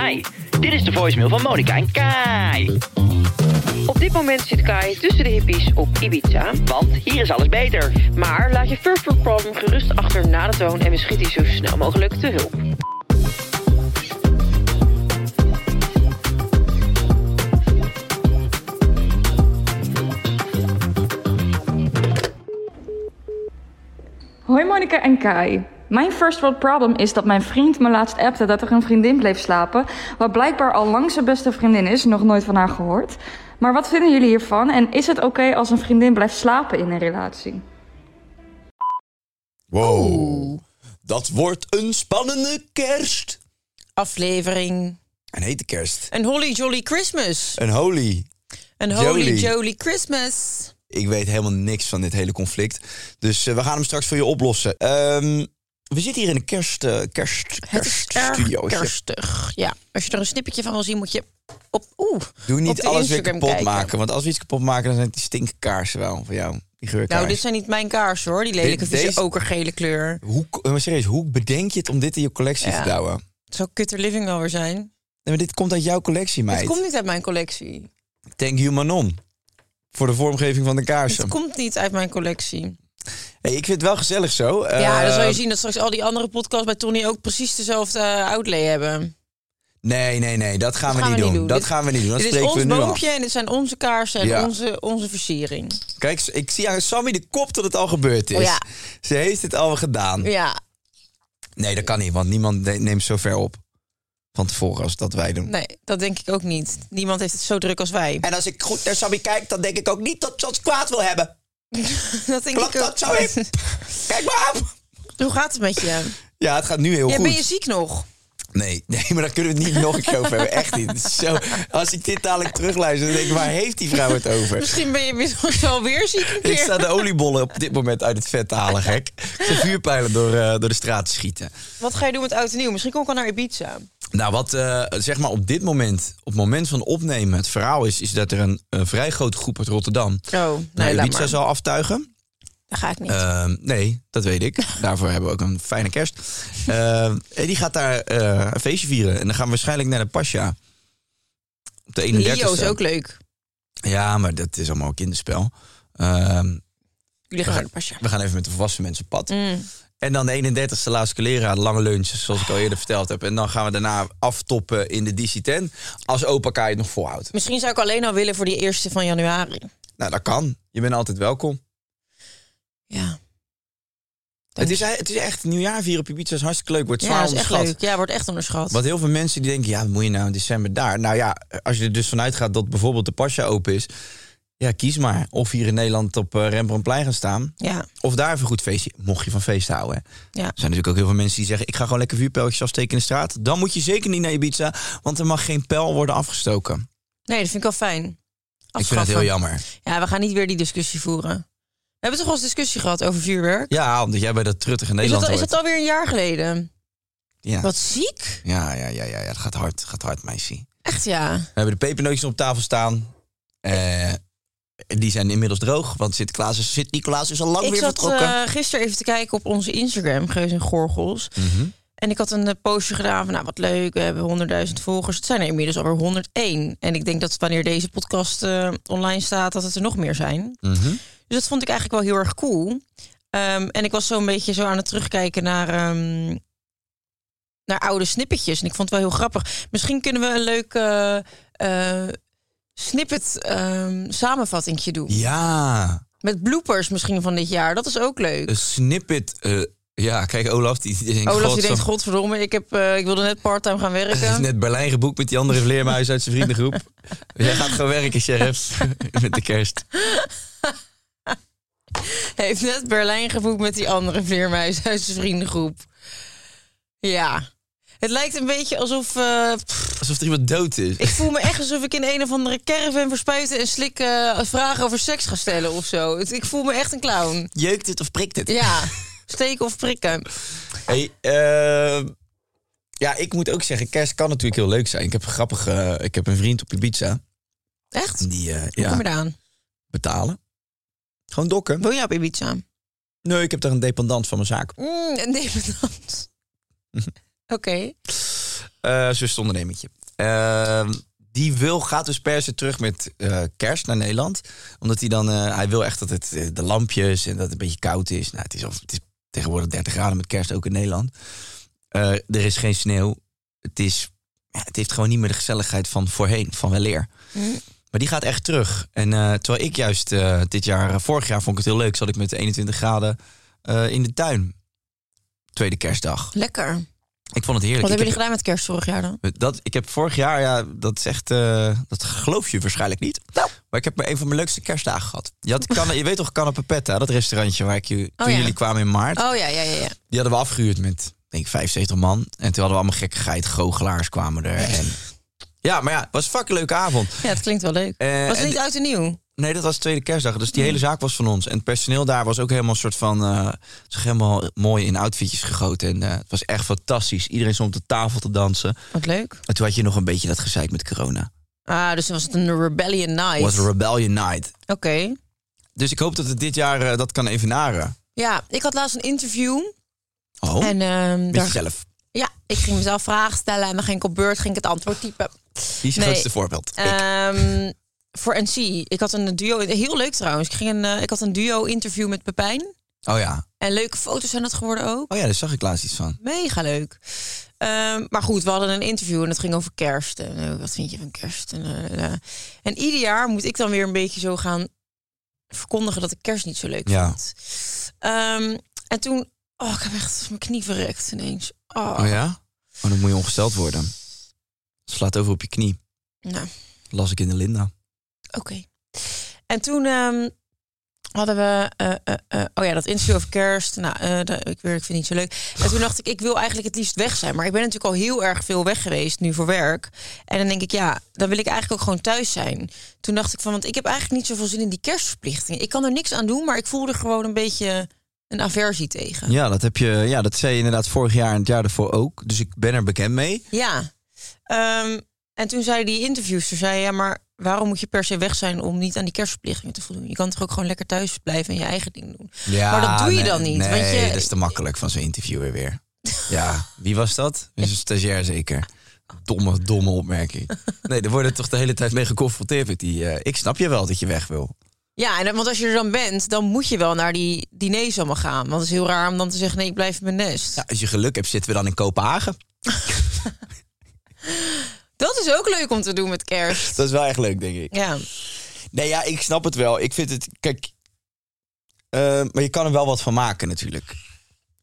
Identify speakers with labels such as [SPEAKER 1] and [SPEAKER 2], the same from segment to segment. [SPEAKER 1] Hi, dit is de voicemail van Monica en Kai.
[SPEAKER 2] Op dit moment zit Kai tussen de hippies op Ibiza.
[SPEAKER 1] Want hier is alles beter.
[SPEAKER 2] Maar laat je furfur problem gerust achter na de toon en we schieten je zo snel mogelijk te hulp.
[SPEAKER 3] Hoi Monika en Kai. Mijn first world problem is dat mijn vriend me laatst appte dat er een vriendin bleef slapen. Wat blijkbaar al lang zijn beste vriendin is, nog nooit van haar gehoord. Maar wat vinden jullie hiervan en is het oké als een vriendin blijft slapen in een relatie?
[SPEAKER 4] Wow.
[SPEAKER 5] Oh.
[SPEAKER 4] Dat wordt een spannende kerst.
[SPEAKER 5] aflevering.
[SPEAKER 4] Een hete kerst.
[SPEAKER 5] Een Holly Jolly Christmas.
[SPEAKER 4] Een holy.
[SPEAKER 5] Een Holly
[SPEAKER 4] Jolly.
[SPEAKER 5] Jolly, Christmas.
[SPEAKER 4] Ik weet helemaal niks van dit hele conflict. Dus eh, we gaan hem straks voor je oplossen. Ehm, we zitten hier in een kerst, eh, kerst,
[SPEAKER 5] Het is erg
[SPEAKER 4] kerststudiootje.
[SPEAKER 5] kerstig. Ja, als je er een snippertje van wil zien, moet je op oeh.
[SPEAKER 4] Doe
[SPEAKER 5] op
[SPEAKER 4] niet
[SPEAKER 5] de
[SPEAKER 4] alles weer
[SPEAKER 5] Instagram
[SPEAKER 4] kapot
[SPEAKER 5] kijken.
[SPEAKER 4] maken. Want als we iets kapot maken, dan zijn het die stinkkaarsen wel van jou. Die geurkaars.
[SPEAKER 5] Nou, dit zijn niet mijn kaarsen hoor. Die lelijke
[SPEAKER 4] Dit-
[SPEAKER 5] vieze
[SPEAKER 4] deze-
[SPEAKER 5] okergele kleur.
[SPEAKER 4] hoe, eh, maar serieus, hoe bedenk je het om dit in je collectie
[SPEAKER 5] Ja.
[SPEAKER 4] te douwen? Nee,
[SPEAKER 5] Het zou kutter living wel weer zijn.
[SPEAKER 4] maar dit komt uit jouw collectie, meid.
[SPEAKER 5] Het komt niet uit mijn collectie.
[SPEAKER 4] Thank you, Manon. Voor de vormgeving van de
[SPEAKER 5] Het
[SPEAKER 4] kaarsen.
[SPEAKER 5] komt niet uit mijn collectie.
[SPEAKER 4] Hey, ik vind het wel gezellig zo.
[SPEAKER 5] ja, dan zal je
[SPEAKER 4] Eh,
[SPEAKER 5] zien dat straks al die andere podcasts bij Tony ook precies dezelfde eh, outlay hebben.
[SPEAKER 4] Nee, nee, nee, dat gaan, we,
[SPEAKER 5] gaan
[SPEAKER 4] niet doen. Dat
[SPEAKER 5] Dit-
[SPEAKER 4] gaan we niet doen. Dat
[SPEAKER 5] dit is
[SPEAKER 4] spreken we
[SPEAKER 5] ons
[SPEAKER 4] nu af.
[SPEAKER 5] boompje en dit zijn onze kaarsen en
[SPEAKER 4] Ja.
[SPEAKER 5] onze, onze versiering.
[SPEAKER 4] Kijk, ik zie aan Sammy de kop dat het al gebeurd is.
[SPEAKER 5] Oh ja.
[SPEAKER 4] Ze heeft het al gedaan.
[SPEAKER 5] Ja,
[SPEAKER 4] Nee, dat kan niet, want niemand ne- neemt zo ver op van tevoren als dat wij doen.
[SPEAKER 5] Nee, dat denk ik ook niet. Niemand heeft het zo druk als wij.
[SPEAKER 4] En als ik goed naar Sammy kijk, dan denk ik ook niet dat ze ons kwaad wil hebben.
[SPEAKER 5] dat denk
[SPEAKER 4] Klopt
[SPEAKER 5] ik ook.
[SPEAKER 4] dat, Sammy? Kijk maar op!
[SPEAKER 5] Hoe gaat het met je?
[SPEAKER 4] Ja, het gaat nu heel
[SPEAKER 5] Ja,
[SPEAKER 4] goed.
[SPEAKER 5] ben je ziek nog?
[SPEAKER 4] Nee, nee, maar daar kunnen we het niet nog een keer over hebben. Echt niet. Het is Zo, als ik dit dadelijk terugluister, dan denk ik, waar heeft die vrouw het over?
[SPEAKER 5] Misschien ben je misschien wel weer ziek een
[SPEAKER 4] Ik sta
[SPEAKER 5] keer.
[SPEAKER 4] de oliebollen op dit moment uit het vet te halen, gek. Ik sta vuurpijlen door, eh, door de straat te schieten.
[SPEAKER 5] Wat ga je doen met oud en nieuw? Misschien kom ik al naar Ibiza.
[SPEAKER 4] Nou, wat eh, zeg maar op dit moment, op het moment van opnemen, het verhaal is, is dat er een, eh, vrij grote groep uit Rotterdam
[SPEAKER 5] Oh,
[SPEAKER 4] naar
[SPEAKER 5] nee, laat
[SPEAKER 4] Ibiza
[SPEAKER 5] maar.
[SPEAKER 4] zal aftuigen.
[SPEAKER 5] Dat ga ik niet.
[SPEAKER 4] Ehm, nee, dat weet ik. Daarvoor hebben we ook een fijne kerst. Ehm, en die gaat daar eh, een feestje vieren. En dan gaan we waarschijnlijk naar de Pasha. Op de 31ste.
[SPEAKER 5] Lio is ook leuk.
[SPEAKER 4] Ja, maar dat is allemaal kinderspel. Ehm,
[SPEAKER 5] Jullie gaan Mm. naar de pasja.
[SPEAKER 4] we gaan even met de volwassen mensen op pad. En dan de 31ste laatste kleren, lange lunch, zoals ik al eerder verteld heb. En dan gaan we daarna aftoppen in de DC 10. Als opa Kai het nog volhoudt.
[SPEAKER 5] Misschien zou ik alleen al willen voor die eerste van januari.
[SPEAKER 4] Nou, dat kan. Je bent altijd welkom.
[SPEAKER 5] Ja,
[SPEAKER 4] Het is, het is echt nieuwjaar vieren op Ibiza is hartstikke leuk. Wordt zwaar
[SPEAKER 5] ja dat is echt
[SPEAKER 4] onderschat.
[SPEAKER 5] leuk. Ja, wordt echt onderschat.
[SPEAKER 4] Want heel veel mensen die denken, ja, wat moet je nou in december daar? Nou ja, als je er dus vanuit gaat dat bijvoorbeeld de pasja open is. Ja, kies maar. Of hier in Nederland op eh, Rembrandtplein gaan staan.
[SPEAKER 5] Ja,
[SPEAKER 4] Of daar even een goed feestje. Mocht je van feesten houden. Hè.
[SPEAKER 5] ja.
[SPEAKER 4] Er zijn natuurlijk ook heel veel mensen die zeggen... ik ga gewoon lekker vuurpijltjes afsteken in de straat. Dan moet je zeker niet naar Ibiza, want er mag geen pijl worden afgestoken.
[SPEAKER 5] Nee, dat vind ik wel fijn.
[SPEAKER 4] Ik vind dat
[SPEAKER 5] Afschaffen.
[SPEAKER 4] heel jammer.
[SPEAKER 5] Ja, we gaan niet weer die discussie voeren. We hebben toch al eens discussie gehad over vuurwerk?
[SPEAKER 4] Ja, omdat jij bij dat truttige
[SPEAKER 5] Is
[SPEAKER 4] Nederland
[SPEAKER 5] dat, is
[SPEAKER 4] hoort.
[SPEAKER 5] dat alweer een jaar geleden?
[SPEAKER 4] ja.
[SPEAKER 5] Wat ziek?
[SPEAKER 4] Ja, ja, ja, ja, ja, het gaat hard, het gaat hard, meisje.
[SPEAKER 5] Echt ja.
[SPEAKER 4] We hebben de pepernootjes op tafel staan. Eh, die zijn inmiddels droog, want Sint-Nicolaas is, Sint-Nicolaas is al lang
[SPEAKER 5] Ik
[SPEAKER 4] weer
[SPEAKER 5] zat
[SPEAKER 4] vertrokken. Mhm.
[SPEAKER 5] eh, gisteren even te kijken op onze Instagram, Geus en Gorgels. En ik had een eh, postje gedaan van, nou wat leuk, we hebben 100.000 volgers. Het zijn er inmiddels alweer 101. En ik denk dat wanneer deze podcast eh, online staat, dat het er nog meer zijn.
[SPEAKER 4] Mhm.
[SPEAKER 5] Dus dat vond ik eigenlijk wel heel erg cool. Ehm, en ik was zo een beetje zo aan het terugkijken naar, ehm, naar oude snippetjes. En ik vond het wel heel grappig. Misschien kunnen we een leuk eh, eh, snippet ehm samenvattingje doen.
[SPEAKER 4] Ja,
[SPEAKER 5] Met bloopers misschien van dit jaar. Dat is ook leuk.
[SPEAKER 4] een snippet. eh, ja, kijk, Olaf die, die denkt...
[SPEAKER 5] Olaf die
[SPEAKER 4] "Godsam-
[SPEAKER 5] denkt, godverdomme, ik, heb, eh, ik wilde net parttime gaan
[SPEAKER 4] Hij heeft
[SPEAKER 5] werken.
[SPEAKER 4] net Berlijn geboekt met die andere vleermuis uit zijn vriendengroep. Jij gaat gaan werken, sheriff. met de kerst.
[SPEAKER 5] Hij heeft net Berlijn geboekt met die andere vleermuis uit zijn vriendengroep. Ja. Het lijkt een beetje alsof... eh, pff,
[SPEAKER 4] Alsof er iemand dood is.
[SPEAKER 5] ik voel me echt alsof ik in een of andere caravan verspuiten en slik eh, vragen over seks ga stellen of zo. Het- Ik voel me echt een clown.
[SPEAKER 4] Jeukt het of prikt het?
[SPEAKER 5] Ja, steken of prikken.
[SPEAKER 4] Hey, ehm, ja, ik moet ook zeggen, kerst kan natuurlijk heel leuk zijn. Ik heb een grappige... eh, ik heb een vriend op Ibiza.
[SPEAKER 5] Echt?
[SPEAKER 4] Die eh,
[SPEAKER 5] Kom
[SPEAKER 4] ja,
[SPEAKER 5] maar aan.
[SPEAKER 4] betalen. Gewoon dokken.
[SPEAKER 5] Woon jij op Ibiza?
[SPEAKER 4] Nee, ik heb daar een dependant van mijn zaak.
[SPEAKER 5] Mm, een dependant. Oké.
[SPEAKER 4] eh zusterondernemertje. Ehm, die wil, gaat dus per se terug met eh, kerst naar Nederland. Omdat hij dan, eh, hij wil echt dat het, eh, de lampjes en dat het een beetje koud is. Nou, het is, al, het is tegenwoordig 30 graden met kerst ook in Nederland. Eh, er is geen sneeuw. Het, is, ja, het heeft gewoon niet meer de gezelligheid van voorheen, van weleer.
[SPEAKER 5] Mm.
[SPEAKER 4] Maar die gaat echt terug. En eh, terwijl ik juist eh, dit jaar, eh, vorig jaar vond ik het heel leuk, zat ik met 21 graden eh, in de tuin. Tweede kerstdag.
[SPEAKER 5] Lekker.
[SPEAKER 4] Ik vond het heerlijk.
[SPEAKER 5] Wat hebben
[SPEAKER 4] Ik
[SPEAKER 5] jullie
[SPEAKER 4] heb-
[SPEAKER 5] gedaan met kerst vorig jaar dan?
[SPEAKER 4] dat, ik heb vorig jaar, ja, dat is echt, eh, dat geloof je waarschijnlijk niet.
[SPEAKER 5] Nou.
[SPEAKER 4] Maar ik heb maar een van mijn leukste kerstdagen gehad. Je, had Canna- je weet toch Canapapetta, dat restaurantje waar ik je, toen
[SPEAKER 5] Oh, ja.
[SPEAKER 4] jullie kwamen in maart.
[SPEAKER 5] Oh ja, ja, ja. ja.
[SPEAKER 4] Die hadden we afgehuurd met, denk ik, 75 man. En toen hadden we allemaal gekkigheid, goochelaars kwamen er. En... Ja, maar ja, het was een fucking leuke avond.
[SPEAKER 5] Ja, het klinkt wel leuk.
[SPEAKER 4] Eh,
[SPEAKER 5] was het
[SPEAKER 4] en
[SPEAKER 5] niet
[SPEAKER 4] de-
[SPEAKER 5] oud en nieuw?
[SPEAKER 4] Nee, dat was de tweede kerstdag. Dus
[SPEAKER 5] Mm.
[SPEAKER 4] die hele zaak was van ons. En het personeel daar was ook helemaal een soort van... eh, zich helemaal mooi in outfitjes gegoten. En eh, het was echt fantastisch. Iedereen stond op de tafel te dansen.
[SPEAKER 5] Wat leuk.
[SPEAKER 4] En toen had je nog een beetje dat gezeik met corona.
[SPEAKER 5] Ah, dus dan was het een Rebellion Night.
[SPEAKER 4] was
[SPEAKER 5] Oké.
[SPEAKER 4] Rebellion Night. Dus ik hoop dat het dit jaar eh, dat kan evenaren.
[SPEAKER 5] Ja, ik had laatst een interview.
[SPEAKER 4] Oh,
[SPEAKER 5] En ehm,
[SPEAKER 4] met
[SPEAKER 5] daar,
[SPEAKER 4] jezelf.
[SPEAKER 5] ja, ik ging mezelf vragen stellen en dan ging ik op beurt ging ik het antwoord typen.
[SPEAKER 4] Die is het
[SPEAKER 5] Nee,
[SPEAKER 4] grootste voorbeeld. ik.
[SPEAKER 5] Ehm, Voor NC. Ik had een duo. Heel leuk trouwens. Ik, ging een, eh, ik had een duo interview met Pepijn.
[SPEAKER 4] Oh ja.
[SPEAKER 5] En leuke foto's zijn dat geworden ook.
[SPEAKER 4] Oh ja, daar zag ik laatst iets van.
[SPEAKER 5] Mega leuk. Ehm, maar goed, we hadden een interview en het ging over kerst. En eh, wat vind je van kerst? En, eh, eh. en ieder jaar moet ik dan weer een beetje zo gaan verkondigen dat ik kerst niet zo leuk
[SPEAKER 4] Ja.
[SPEAKER 5] vind. Ehm, en toen, oh, ik heb echt mijn knie verrekt ineens. Oh,
[SPEAKER 4] Oh ja? Oh, dan moet je ongesteld worden. Slaat over op je knie.
[SPEAKER 5] Nou,
[SPEAKER 4] Las ik in de Linda.
[SPEAKER 5] oké. En toen ehm, hadden we, eh, eh, eh, oh ja, dat interview over kerst. Nou, eh, dat- ik, weer, ik vind het niet zo leuk. En toen dacht ik, ik wil eigenlijk het liefst weg zijn. Maar ik ben natuurlijk al heel erg veel weg geweest nu voor werk. En dan denk ik, ja, dan wil ik eigenlijk ook gewoon thuis zijn. Toen dacht ik van, want ik heb eigenlijk niet zoveel zin in die kerstverplichting. Ik kan er niks aan doen, maar ik voel er gewoon een beetje een aversie tegen.
[SPEAKER 4] Ja, dat heb je. Ja, dat zei je inderdaad vorig jaar en het jaar daarvoor ook. Dus ik ben er bekend mee.
[SPEAKER 5] Ja. Ehm, en toen zei die interviewster, zei ja, maar waarom moet je per se weg zijn om niet aan die kerstverplichtingen te voldoen? Je kan toch ook gewoon lekker thuis blijven en je eigen ding doen.
[SPEAKER 4] Ja,
[SPEAKER 5] Maar dat doe je
[SPEAKER 4] nee,
[SPEAKER 5] dan niet,
[SPEAKER 4] Nee,
[SPEAKER 5] want je-
[SPEAKER 4] dat is te makkelijk van zo'n interviewer weer. Ja, wie was dat? Dat is een stagiair zeker. Domme, domme opmerking. Nee, daar worden toch de hele tijd mee geconfronteerd met die... eh, ik snap je wel dat je weg wil.
[SPEAKER 5] Ja, en, dan- want als je er dan bent, dan moet je wel naar die diners allemaal gaan. Want het is heel raar om dan te zeggen, nee, ik blijf in mijn nest.
[SPEAKER 4] Ja, als je geluk hebt, zitten we dan in Kopenhagen.
[SPEAKER 5] Dat is ook leuk om te doen met kerst.
[SPEAKER 4] Dat is wel echt leuk, denk ik.
[SPEAKER 5] Ja,
[SPEAKER 4] Nee, ja, ik snap het wel. Ik vind het... Kijk... eh, maar je kan er wel wat van maken, natuurlijk.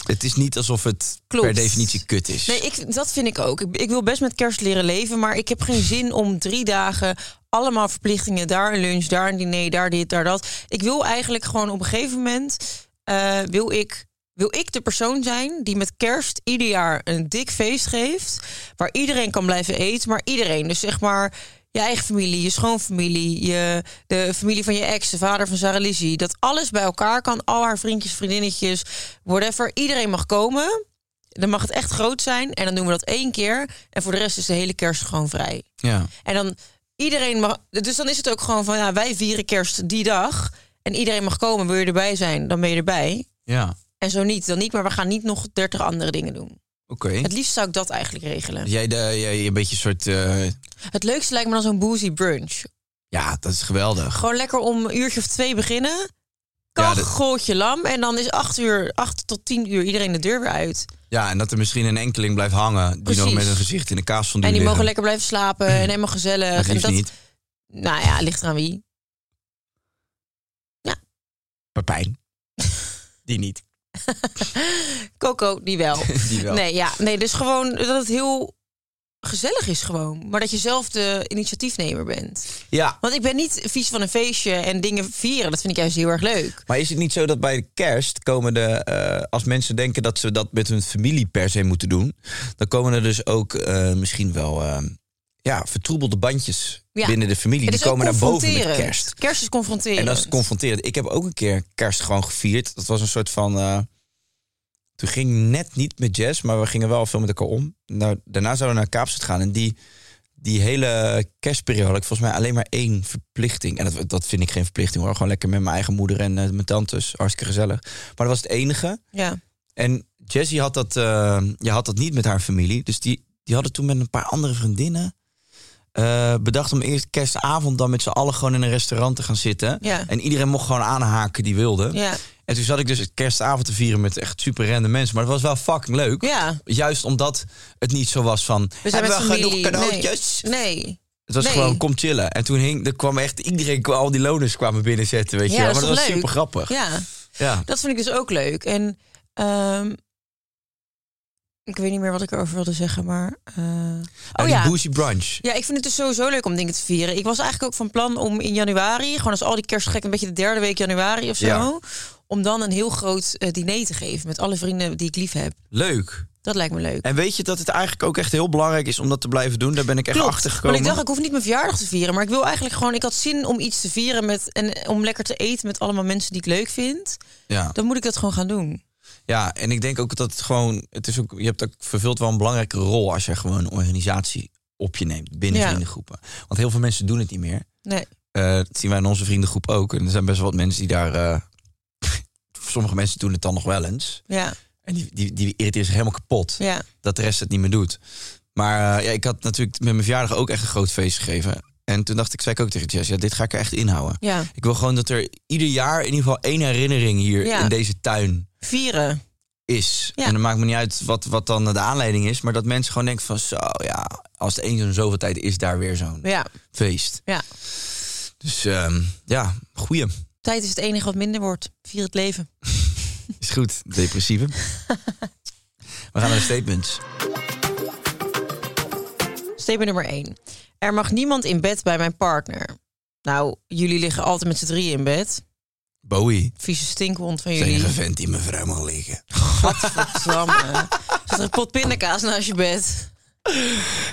[SPEAKER 4] Het is niet alsof het
[SPEAKER 5] Klopt.
[SPEAKER 4] per definitie kut is.
[SPEAKER 5] nee, ik, dat vind ik ook. Ik, ik wil best met kerst leren leven, maar ik heb geen zin om drie dagen allemaal verplichtingen. Daar een lunch, daar een diner, daar dit, daar dat. Ik wil eigenlijk gewoon op een gegeven moment, eh, wil, ik, wil ik de persoon zijn die met kerst ieder jaar een dik feest geeft. Waar iedereen kan blijven eten, maar iedereen. Dus zeg maar, je eigen familie, je schoonfamilie, je, de familie van je ex, de vader van Sarah Lizzie. Dat alles bij elkaar kan. Al haar vriendjes, vriendinnetjes, whatever. Iedereen mag komen. Dan mag het echt groot zijn. En dan doen we dat één keer. En voor de rest is de hele kerst gewoon vrij.
[SPEAKER 4] Ja.
[SPEAKER 5] En dan iedereen mag. Dus dan is het ook gewoon van ja, wij vieren kerst die dag. En iedereen mag komen. Wil je erbij zijn, dan ben je erbij.
[SPEAKER 4] Ja.
[SPEAKER 5] En zo niet, dan niet. Maar we gaan niet nog 30 andere dingen doen.
[SPEAKER 4] Oké.
[SPEAKER 5] Het liefst zou ik dat eigenlijk regelen.
[SPEAKER 4] Jij, de, jij een beetje een soort... eh,
[SPEAKER 5] Het leukste lijkt me dan zo'n boozy brunch.
[SPEAKER 4] ja, dat is geweldig.
[SPEAKER 5] Gewoon lekker om een uurtje of twee beginnen.
[SPEAKER 4] Ja, dat-
[SPEAKER 5] Kacheltje lam. En dan is acht, uur, acht tot tien uur iedereen de deur weer uit.
[SPEAKER 4] Ja, en dat er misschien een enkeling blijft hangen... die nog
[SPEAKER 5] Precies.
[SPEAKER 4] met een gezicht in de kaas van
[SPEAKER 5] En die mogen lekker blijven slapen en helemaal gezellig. en dat,
[SPEAKER 4] niet.
[SPEAKER 5] Nou ja, ligt eraan wie.
[SPEAKER 4] Pepijn. die niet.
[SPEAKER 5] Coco, die wel.
[SPEAKER 4] Die wel.
[SPEAKER 5] Nee, ja. nee, dus gewoon dat het heel gezellig is gewoon. Maar dat je zelf de initiatiefnemer bent.
[SPEAKER 4] Ja,
[SPEAKER 5] Want ik ben niet vies van een feestje en dingen vieren. Dat vind ik juist heel erg leuk.
[SPEAKER 4] maar is het niet zo dat bij de kerst komen de... eh, als mensen denken dat ze dat met hun familie per se moeten doen... dan komen er dus ook eh, misschien wel... eh, ja, vertroebelde bandjes
[SPEAKER 5] Ja.
[SPEAKER 4] binnen de familie.
[SPEAKER 5] Het
[SPEAKER 4] Die
[SPEAKER 5] is ook
[SPEAKER 4] komen naar boven met
[SPEAKER 5] confronterend.
[SPEAKER 4] kerst.
[SPEAKER 5] Kerst is confronterend.
[SPEAKER 4] En dat is confronterend. Ik heb ook een keer kerst gewoon gevierd. Dat was een soort van... eh, toen ging net niet met jazz, maar we gingen wel veel met elkaar om. Nou, daarna zouden we naar Kaapstad gaan. En die, die hele kerstperiode had ik volgens mij alleen maar één verplichting. En dat, dat vind ik geen verplichting hoor. Gewoon lekker met mijn eigen moeder en eh, mijn tantes. Hartstikke gezellig. Maar dat was het enige.
[SPEAKER 5] Ja.
[SPEAKER 4] En Jessie had dat, eh, je had dat niet met haar familie. Dus die, die hadden toen met een paar andere vriendinnen eh, bedacht om eerst kerstavond dan met z'n allen gewoon in een restaurant te gaan zitten.
[SPEAKER 5] Ja.
[SPEAKER 4] En iedereen mocht gewoon aanhaken die wilde.
[SPEAKER 5] Ja.
[SPEAKER 4] En toen zat ik dus kerstavond te vieren met echt super rende mensen. Maar het was wel fucking leuk.
[SPEAKER 5] ja.
[SPEAKER 4] Juist omdat het niet zo was van.
[SPEAKER 5] We zijn
[SPEAKER 4] hebben
[SPEAKER 5] met
[SPEAKER 4] we genoeg
[SPEAKER 5] familie.
[SPEAKER 4] cadeautjes?
[SPEAKER 5] Nee. nee.
[SPEAKER 4] Het was
[SPEAKER 5] Nee.
[SPEAKER 4] gewoon kom chillen. En toen hing, er kwam echt iedereen, kwam- al die loners kwamen binnenzetten. Weet je
[SPEAKER 5] Ja,
[SPEAKER 4] wel.
[SPEAKER 5] dat
[SPEAKER 4] maar
[SPEAKER 5] is
[SPEAKER 4] dat was
[SPEAKER 5] toch leuk?
[SPEAKER 4] super grappig.
[SPEAKER 5] Ja.
[SPEAKER 4] Ja.
[SPEAKER 5] Dat vind ik dus ook leuk. En ehm, ik weet niet meer wat ik erover wilde zeggen, maar. eh,
[SPEAKER 4] En
[SPEAKER 5] oh
[SPEAKER 4] Nou, die
[SPEAKER 5] ja.
[SPEAKER 4] boozy brunch.
[SPEAKER 5] Ja, ik vind het dus sowieso leuk om dingen te vieren. Ik was eigenlijk ook van plan om in januari, gewoon als al die kerstgek, een beetje de derde week januari of zo,
[SPEAKER 4] Ja.
[SPEAKER 5] om dan een heel groot eh, diner te geven met alle vrienden die ik lief heb.
[SPEAKER 4] Leuk.
[SPEAKER 5] Dat lijkt me leuk.
[SPEAKER 4] En weet je dat het eigenlijk ook echt heel belangrijk is om dat te blijven doen? Daar ben ik echt
[SPEAKER 5] Klopt.
[SPEAKER 4] achter gekomen.
[SPEAKER 5] Want ik dacht, ik hoef niet mijn verjaardag te vieren, maar ik wil eigenlijk gewoon, ik had zin om iets te vieren met en om lekker te eten met allemaal mensen die ik leuk vind.
[SPEAKER 4] ja.
[SPEAKER 5] Dan moet ik dat gewoon gaan doen.
[SPEAKER 4] ja, en ik denk ook dat het gewoon, het is ook, je hebt ook vervult wel een belangrijke rol als je gewoon een organisatie op je neemt binnen
[SPEAKER 5] Ja.
[SPEAKER 4] vriendengroepen. Want heel veel mensen doen het niet meer.
[SPEAKER 5] Nee.
[SPEAKER 4] Eh, dat zien wij in onze vriendengroep ook. En er zijn best wel wat mensen die daar. eh, sommige mensen doen het dan nog wel eens.
[SPEAKER 5] Ja.
[SPEAKER 4] En die, die, die irriteren zich helemaal kapot.
[SPEAKER 5] Ja.
[SPEAKER 4] dat de rest het niet meer doet. Maar eh, ja, ik had natuurlijk met mijn verjaardag ook echt een groot feest gegeven. En toen dacht ik, zei ik ook tegen Jess, ja, dit ga ik er echt inhouden.
[SPEAKER 5] Ja.
[SPEAKER 4] Ik wil gewoon dat er ieder jaar in ieder geval één herinnering hier
[SPEAKER 5] Ja.
[SPEAKER 4] in deze tuin
[SPEAKER 5] Vieren.
[SPEAKER 4] is.
[SPEAKER 5] Ja.
[SPEAKER 4] En dan maakt me niet uit wat, wat dan de aanleiding is, maar dat mensen gewoon denken van zo, ja, als het eens in zoveel tijd is, daar weer zo'n
[SPEAKER 5] Ja.
[SPEAKER 4] feest.
[SPEAKER 5] Ja.
[SPEAKER 4] Dus ehm, ja, goeie.
[SPEAKER 5] Tijd is het enige wat minder wordt. Vier het leven.
[SPEAKER 4] Is goed, depressieve. We gaan naar de statements.
[SPEAKER 5] Statement nummer 1. Er mag niemand in bed bij mijn partner. Nou, jullie liggen altijd met z'n drieën in bed.
[SPEAKER 4] Bowie,
[SPEAKER 5] Vieze stinkhond van
[SPEAKER 4] de enige
[SPEAKER 5] jullie.
[SPEAKER 4] vent die mijn vrouw mag liggen.
[SPEAKER 5] Gadverdamme. Zit er een pot pindakaas naast je bed?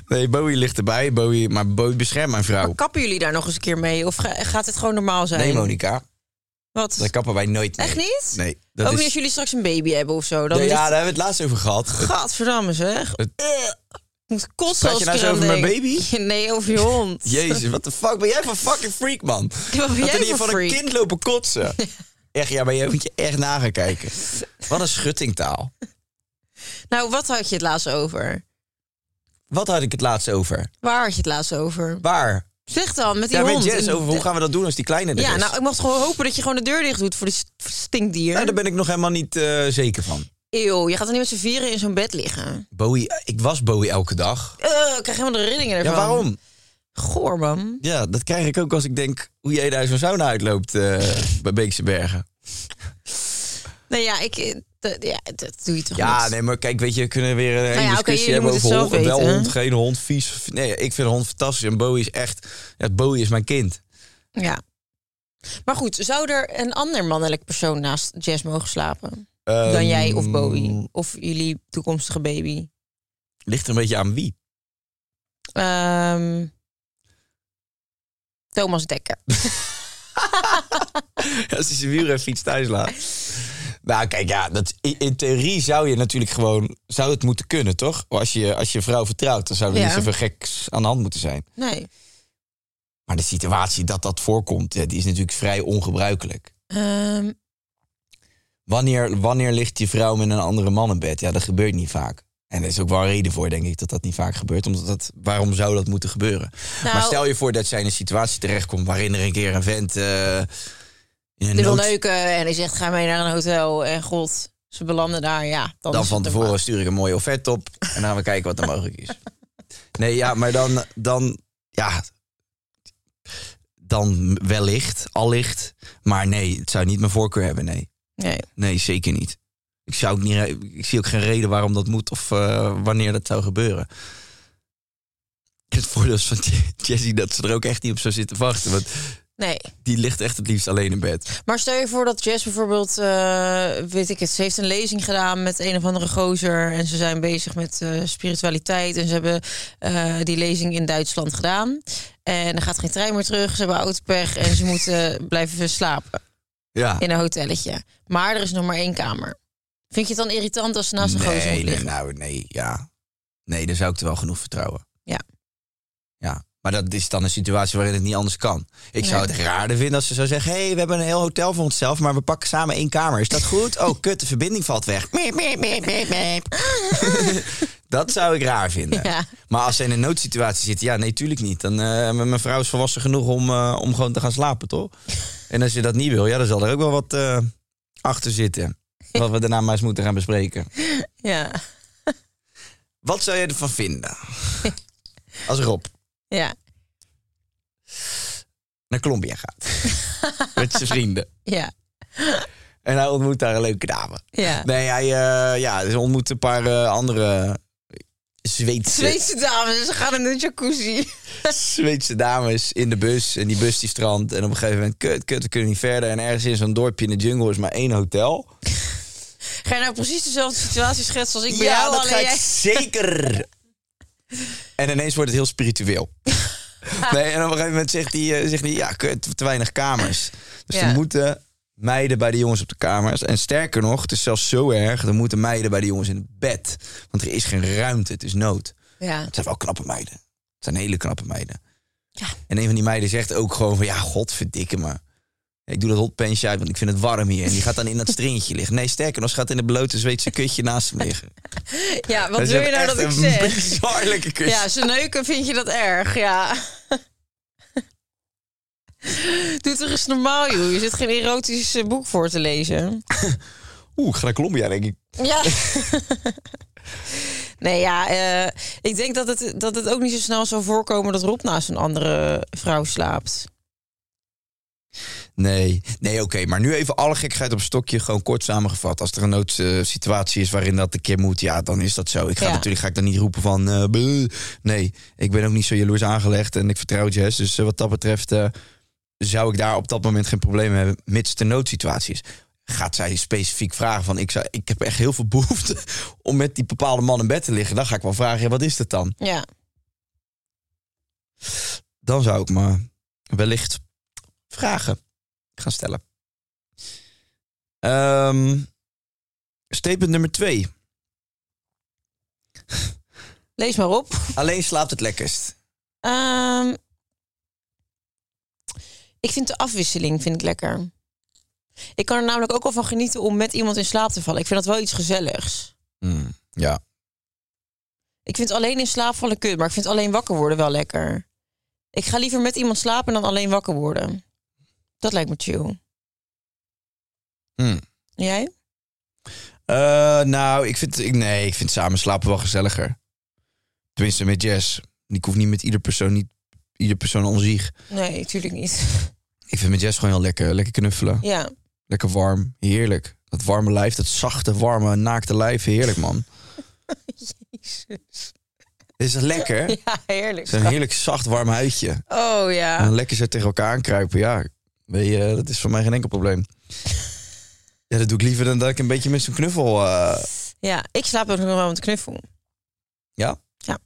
[SPEAKER 4] Nee, Bowie ligt erbij. Bowie, maar Bowie beschermt mijn vrouw.
[SPEAKER 5] Maar kappen jullie daar nog eens een keer mee? Of ga- gaat het gewoon normaal zijn?
[SPEAKER 4] Oh. Nee, Monica,
[SPEAKER 5] Wat?
[SPEAKER 4] daar kappen wij nooit mee.
[SPEAKER 5] Echt niet?
[SPEAKER 4] Nee. Dat
[SPEAKER 5] Ook
[SPEAKER 4] is...
[SPEAKER 5] niet als jullie straks een baby hebben of zo. Dan
[SPEAKER 4] Nee, Ja, daar
[SPEAKER 5] ligt...
[SPEAKER 4] hebben we het laatst over gehad.
[SPEAKER 5] Gadverdamme zeg.
[SPEAKER 4] Het-
[SPEAKER 5] Ik moet kotsen
[SPEAKER 4] Praat
[SPEAKER 5] als
[SPEAKER 4] je
[SPEAKER 5] ik
[SPEAKER 4] nou zo
[SPEAKER 5] eraan
[SPEAKER 4] over mijn
[SPEAKER 5] denk.
[SPEAKER 4] baby?
[SPEAKER 5] Nee, over je hond.
[SPEAKER 4] Jezus, wat de fuck ben jij voor fucking freak, man?
[SPEAKER 5] Wat ben
[SPEAKER 4] Dat
[SPEAKER 5] jij
[SPEAKER 4] er
[SPEAKER 5] voor
[SPEAKER 4] hier van
[SPEAKER 5] freak?
[SPEAKER 4] een kind lopen kotsen. Echt, ja, maar je moet je echt na gaan kijken. Wat een schuttingtaal.
[SPEAKER 5] Nou, wat had je het laatst over?
[SPEAKER 4] Wat had ik het laatst over?
[SPEAKER 5] Waar had je het laatst over?
[SPEAKER 4] Waar?
[SPEAKER 5] Zeg dan, met die
[SPEAKER 4] Daar met
[SPEAKER 5] hond.
[SPEAKER 4] Jess
[SPEAKER 5] En-
[SPEAKER 4] over hoe gaan we dat doen als die kleine er
[SPEAKER 5] Ja,
[SPEAKER 4] is?
[SPEAKER 5] nou, ik mocht gewoon hopen dat je gewoon de deur dicht doet voor die st- voor het stinkdier.
[SPEAKER 4] Nou, daar ben ik nog helemaal niet eh, zeker van.
[SPEAKER 5] Eeuw, je gaat dan niet met z'n vieren in zo'n bed liggen.
[SPEAKER 4] Bowie, ik was Bowie elke dag.
[SPEAKER 5] Eh, ik krijg helemaal de rillingen ervan.
[SPEAKER 4] Ja, waarom?
[SPEAKER 5] Goor, man.
[SPEAKER 4] Ja, dat krijg ik ook als ik denk hoe jij daar zo'n sauna uitloopt eh, bij Beekse Bergen.
[SPEAKER 5] Nee, ja, ik... eh, d- ja, dat doe je toch
[SPEAKER 4] Ja,
[SPEAKER 5] niet?
[SPEAKER 4] nee, maar kijk, weet je, we kunnen weer een hele
[SPEAKER 5] Nou ja, oké,
[SPEAKER 4] discussie
[SPEAKER 5] jullie
[SPEAKER 4] hebben
[SPEAKER 5] moeten
[SPEAKER 4] over
[SPEAKER 5] het
[SPEAKER 4] hond,
[SPEAKER 5] zelf
[SPEAKER 4] wel
[SPEAKER 5] weten,
[SPEAKER 4] hond,
[SPEAKER 5] hè?
[SPEAKER 4] geen hond, vies. of- Nee, ik vind hond fantastisch en Bowie is echt, ja, Bowie is mijn kind.
[SPEAKER 5] Ja. Maar goed, zou er een ander mannelijk persoon naast Jess mogen slapen?
[SPEAKER 4] Ehm,
[SPEAKER 5] Dan jij of Bowie? Of jullie toekomstige baby?
[SPEAKER 4] Ligt er een beetje aan wie.
[SPEAKER 5] Ehm, Thomas Dekker.
[SPEAKER 4] Als hij zijn wielrenfiets thuis laat. Nou, kijk, ja, dat, in, in theorie zou je natuurlijk gewoon, zou het moeten kunnen, toch? Als je als je vrouw vertrouwt, dan zou er
[SPEAKER 5] Ja.
[SPEAKER 4] niet zoveel geks aan de hand moeten zijn.
[SPEAKER 5] Nee.
[SPEAKER 4] Maar de situatie dat dat voorkomt, ja, die is natuurlijk vrij ongebruikelijk.
[SPEAKER 5] Ehm,
[SPEAKER 4] Wanneer, wanneer ligt je vrouw met een andere man in bed? Ja, dat gebeurt niet vaak. En er is ook wel een reden voor, denk ik, dat dat niet vaak gebeurt. Omdat dat, waarom zou dat moeten gebeuren?
[SPEAKER 5] Nou-
[SPEAKER 4] maar stel je voor dat zij in een situatie terechtkomt waarin er een keer een vent. eh, in een
[SPEAKER 5] Die wil
[SPEAKER 4] nood-
[SPEAKER 5] neuken eh, en die zegt ga mee naar een hotel. En god, ze belanden daar. Ja, dan,
[SPEAKER 4] dan
[SPEAKER 5] is
[SPEAKER 4] van
[SPEAKER 5] het
[SPEAKER 4] tevoren
[SPEAKER 5] normaal.
[SPEAKER 4] stuur ik een mooie offerte op. En dan gaan we kijken wat er mogelijk is. Nee, ja, maar dan, dan ja. Dan wellicht, allicht. Maar nee, het zou niet mijn voorkeur hebben, nee.
[SPEAKER 5] Nee.
[SPEAKER 4] Nee, zeker niet. Ik, zou ook niet, ik zie ook geen reden waarom dat moet of eh, wanneer dat zou gebeuren. Het voordeel is van Jessie dat ze er ook echt niet op zou zitten wachten. Want
[SPEAKER 5] nee.
[SPEAKER 4] die ligt echt het liefst alleen in bed.
[SPEAKER 5] Maar stel je voor dat Jess bijvoorbeeld, eh, weet ik het, ze heeft een lezing gedaan met een of andere gozer. En ze zijn bezig met eh, spiritualiteit. En ze hebben eh, die lezing in Duitsland gedaan. En er gaat geen trein meer terug. Ze hebben autopech en ze moeten blijven slapen
[SPEAKER 4] Ja.
[SPEAKER 5] in een hotelletje. Maar er is nog maar één kamer. Vind je het dan irritant als ze naast een gozer moet
[SPEAKER 4] nee, nee,
[SPEAKER 5] liggen?
[SPEAKER 4] nou, nee, ja. Nee, dan zou ik er wel genoeg vertrouwen.
[SPEAKER 5] Ja.
[SPEAKER 4] Ja, maar dat is dan een situatie waarin het niet anders kan. Ik zou het raarder vinden als ze zou zeggen... hey, we hebben een heel hotel voor onszelf, maar we pakken samen één kamer. Is dat goed? Oh, kut, de verbinding valt weg. Miep, miep, miep, miep, miep. dat zou ik raar vinden.
[SPEAKER 5] Ja.
[SPEAKER 4] Maar als ze in een noodsituatie zitten, ja, nee, tuurlijk niet. Dan, eh, m- mijn vrouw is volwassen genoeg om, eh, om gewoon te gaan slapen, toch? En als je dat niet wil, ja, dan zal er ook wel wat eh, achter zitten. Wat we daarna maar eens moeten gaan bespreken.
[SPEAKER 5] Ja,
[SPEAKER 4] Wat zou jij ervan vinden? Als Rob
[SPEAKER 5] ja,
[SPEAKER 4] naar Colombia gaat. Met zijn vrienden.
[SPEAKER 5] ja,
[SPEAKER 4] En hij ontmoet daar een leuke dame.
[SPEAKER 5] ja.
[SPEAKER 4] Nee, hij eh, ja, dus ontmoet een paar eh, andere Zweedse,
[SPEAKER 5] Zweedse dames, dus ze gaan in de jacuzzi.
[SPEAKER 4] Zweedse dames in de bus. En die bus die strandt. En op een gegeven moment, kut, kut, we kunnen niet verder. En ergens in zo'n dorpje in de jungle is maar één hotel.
[SPEAKER 5] Ga je nou precies dezelfde situatie schetsen als ik bij
[SPEAKER 4] ja,
[SPEAKER 5] jou?
[SPEAKER 4] dat
[SPEAKER 5] alleen
[SPEAKER 4] ga ik
[SPEAKER 5] jij-
[SPEAKER 4] zeker. en ineens wordt het heel spiritueel. nee, en op een gegeven moment zegt hij, eh, zegt hij ja, kut, te weinig kamers. Dus
[SPEAKER 5] Ja.
[SPEAKER 4] er moeten meiden bij de jongens op de kamers. En sterker nog, het is zelfs zo erg, er moeten meiden bij de jongens in het bed. Want er is geen ruimte, het is nood.
[SPEAKER 5] Ja.
[SPEAKER 4] Het zijn wel knappe meiden. Het zijn hele knappe meiden. En een van die meiden zegt ook gewoon van... Ja, godverdikke me. Ik doe dat hotpensje uit, want ik vind het warm hier. En die gaat dan in dat stringetje liggen. Nee, sterker nog, ze gaat in het blote Zweedse kutje naast hem liggen.
[SPEAKER 5] ja, wat
[SPEAKER 4] En ze
[SPEAKER 5] wil je nou
[SPEAKER 4] hebben
[SPEAKER 5] dat ik
[SPEAKER 4] echt
[SPEAKER 5] zeg?
[SPEAKER 4] een bizar lekker kus.
[SPEAKER 5] Ja, ze neuken vind je dat erg, ja. Doe toch eens normaal, joh. Je zit geen erotisch eh, boek voor te lezen.
[SPEAKER 4] Oeh, ik ga naar Colombia, denk ik.
[SPEAKER 5] Ja. Nee, ja, eh, ik denk dat het, dat het ook niet zo snel zou voorkomen dat Rob naast een andere vrouw slaapt.
[SPEAKER 4] Nee, nee oké. Maar nu even alle gekheid op stokje, gewoon kort samengevat. Als er een noodsituatie is waarin dat een keer moet, ja, dan is dat zo. Ik ga
[SPEAKER 5] Ja.
[SPEAKER 4] natuurlijk ga ik dan niet roepen van... eh, bleh. nee, ik ben ook niet zo jaloers aangelegd en ik vertrouw Jess. Dus eh, wat dat betreft eh, zou ik daar op dat moment geen probleem hebben... mits de noodsituatie is. Gaat zij specifiek vragen van... Ik, zou, ik heb echt heel veel behoefte om met die bepaalde man in bed te liggen. Dan ga ik wel vragen, ja, wat is dat dan?
[SPEAKER 5] Ja.
[SPEAKER 4] dan zou ik me wellicht vragen gaan stellen. Ehm, statement nummer twee.
[SPEAKER 5] Lees maar op.
[SPEAKER 4] Alleen slaapt het lekkerst.
[SPEAKER 5] Ehm, ik vind de afwisseling vind ik lekker. Ik kan er namelijk ook wel van genieten om met iemand in slaap te vallen. Ik vind dat wel iets gezelligs.
[SPEAKER 4] Hmm, ja.
[SPEAKER 5] Ik vind alleen in slaap vallen kut, maar ik vind alleen wakker worden wel lekker. Ik ga liever met iemand slapen dan alleen wakker worden. Dat lijkt me chill.
[SPEAKER 4] Hmm.
[SPEAKER 5] En Jij?
[SPEAKER 4] Eh, nou, ik vind, ik, nee, ik vind samen slapen wel gezelliger. Tenminste met Jess. Ik hoef niet met ieder persoon, niet ieder persoon onzieg.
[SPEAKER 5] Nee, natuurlijk niet.
[SPEAKER 4] Ik vind met Jess gewoon heel lekker. Lekker knuffelen.
[SPEAKER 5] Ja,
[SPEAKER 4] Lekker warm. Heerlijk. Dat warme lijf, dat zachte, warme, naakte lijf. Heerlijk, man. Is dat lekker?
[SPEAKER 5] ja heerlijk.
[SPEAKER 4] Zo'n heerlijk zacht, warm huidje.
[SPEAKER 5] Oh
[SPEAKER 4] En
[SPEAKER 5] ja.
[SPEAKER 4] dan lekker zo tegen elkaar aankruipen, ja. Weet je, dat is voor mij geen enkel probleem. Ja, dat doe ik liever dan dat ik een beetje met zo'n knuffel... eh,
[SPEAKER 5] ja, ik slaap ook nog wel met knuffel.
[SPEAKER 4] ja?
[SPEAKER 5] Ja.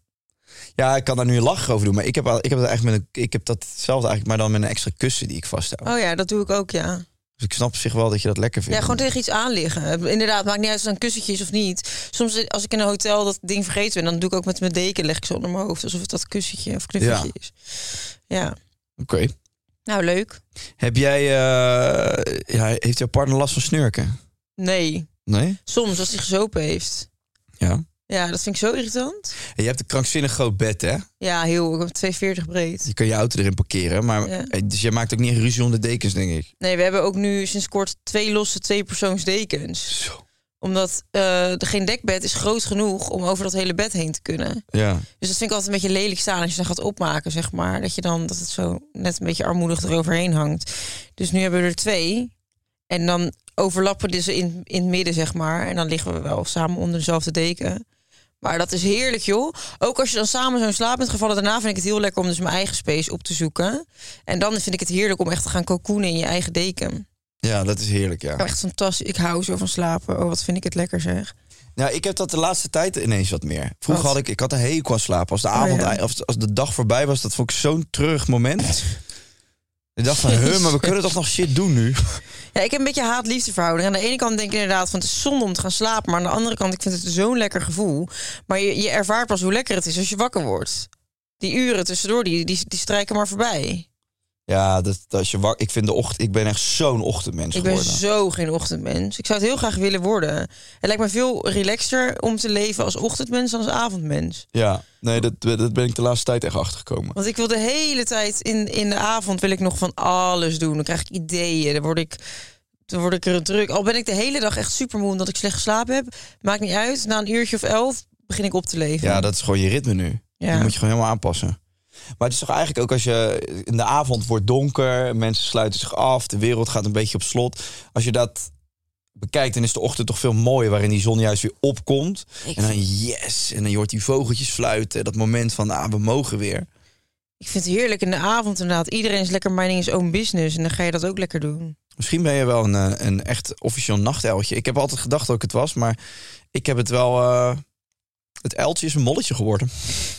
[SPEAKER 4] Ja, ik kan daar nu een lach over doen. Maar ik heb, al, ik heb, dat eigenlijk met een, ik heb datzelfde eigenlijk, maar dan met een extra kussen die ik vasthoud.
[SPEAKER 5] Oh ja, dat doe ik ook, ja.
[SPEAKER 4] Dus ik snap op zich wel dat je dat lekker vindt.
[SPEAKER 5] Ja, gewoon tegen iets aan liggen. Inderdaad, maakt niet uit of het een kussentje is of niet. Soms eh, als ik in een hotel dat ding vergeten ben, dan doe ik ook met mijn deken, leg ik ze onder mijn hoofd. Alsof het dat kussentje of knuffeltje
[SPEAKER 4] Ja.
[SPEAKER 5] is. Ja,
[SPEAKER 4] Oké.
[SPEAKER 5] nou leuk.
[SPEAKER 4] Heb jij... eh, ja, heeft jouw partner last van snurken?
[SPEAKER 5] Nee,
[SPEAKER 4] Nee?
[SPEAKER 5] soms als hij gezopen heeft.
[SPEAKER 4] Ja.
[SPEAKER 5] Ja, dat vind ik zo irritant.
[SPEAKER 4] En je hebt een krankzinnig groot bed, hè?
[SPEAKER 5] Ja, heel. Ik heb 240 breed.
[SPEAKER 4] Je kan je auto erin parkeren. Maar,
[SPEAKER 5] Ja.
[SPEAKER 4] eh, Dus jij maakt ook niet echt ruzie om de dekens, denk ik.
[SPEAKER 5] Nee, we hebben ook nu sinds kort twee losse tweepersoonsdekens.
[SPEAKER 4] Zo.
[SPEAKER 5] Omdat eh er geen dekbed is groot genoeg om over dat hele bed heen te kunnen.
[SPEAKER 4] Ja.
[SPEAKER 5] Dus dat vind ik altijd een beetje lelijk staan als je dan gaat opmaken, zeg maar. Dat je dan dat het zo net een beetje armoedig eroverheen hangt. Dus nu hebben we er twee. En dan overlappen die ze in, in het midden, zeg maar. En dan liggen we wel samen onder dezelfde deken. Maar dat is heerlijk, joh. Ook als je dan samen zo in slaap bent gevallen, daarna vind ik het heel lekker om dus mijn eigen space op te zoeken. En dan vind ik het heerlijk om echt te gaan cocoenen in je eigen deken.
[SPEAKER 4] ja, dat is heerlijk, ja.
[SPEAKER 5] Echt fantastisch. Ik hou zo van slapen. Oh, wat vind ik het lekker, zeg.
[SPEAKER 4] Nou, ik heb dat de laatste tijd ineens wat meer. Vroeger
[SPEAKER 5] Wat? Oh,
[SPEAKER 4] had ik, ik had een hekel aan slapen. Als de avond,
[SPEAKER 5] ja.
[SPEAKER 4] of als de dag voorbij was, dat vond ik zo'n treurig moment. ik dacht van, huh, maar we kunnen toch nog shit doen nu?
[SPEAKER 5] Ja, ik heb een beetje haat-liefde verhouding. Aan de ene kant denk ik inderdaad van het is zonde om te gaan slapen. Maar aan de andere kant, ik vind het zo'n lekker gevoel. Maar je, je ervaart pas hoe lekker het is als je wakker wordt. Die uren tussendoor, die, die, die strijken maar voorbij.
[SPEAKER 4] Ja, dat, dat als je wak, ik vind de ochtend, ik ben echt zo'n ochtendmens
[SPEAKER 5] Ik ben
[SPEAKER 4] geworden.
[SPEAKER 5] zo geen ochtendmens. Ik zou het heel graag willen worden. Het lijkt me veel relaxter om te leven als ochtendmens dan als avondmens.
[SPEAKER 4] Ja, nee, dat, dat ben ik de laatste tijd echt achtergekomen.
[SPEAKER 5] Want ik wil de hele tijd in, in de avond wil ik nog van alles doen. Dan krijg ik ideeën. Dan word ik, dan word ik er druk. Al ben ik de hele dag echt supermoe omdat ik slecht geslapen heb. Maakt niet uit. Na een uurtje of elf begin ik op te leven.
[SPEAKER 4] Ja, dat is gewoon je ritme nu.
[SPEAKER 5] Ja.
[SPEAKER 4] Die moet je gewoon helemaal aanpassen. Maar het is toch eigenlijk ook als je in de avond wordt donker, mensen sluiten zich af, de wereld gaat een beetje op slot. Als je dat bekijkt, dan is de ochtend toch veel mooier, waarin die zon juist weer opkomt. en dan yes, en dan je hoort die vogeltjes fluiten, dat moment van ah, we mogen weer.
[SPEAKER 5] Ik vind het heerlijk in de avond inderdaad. Iedereen is lekker minding his own business. En dan ga je dat ook lekker doen.
[SPEAKER 4] Misschien ben je wel een, eh, een echt officieel nachteltje. Ik heb altijd gedacht dat ik het was, maar ik heb het wel. eh, het uiltje is een molletje geworden.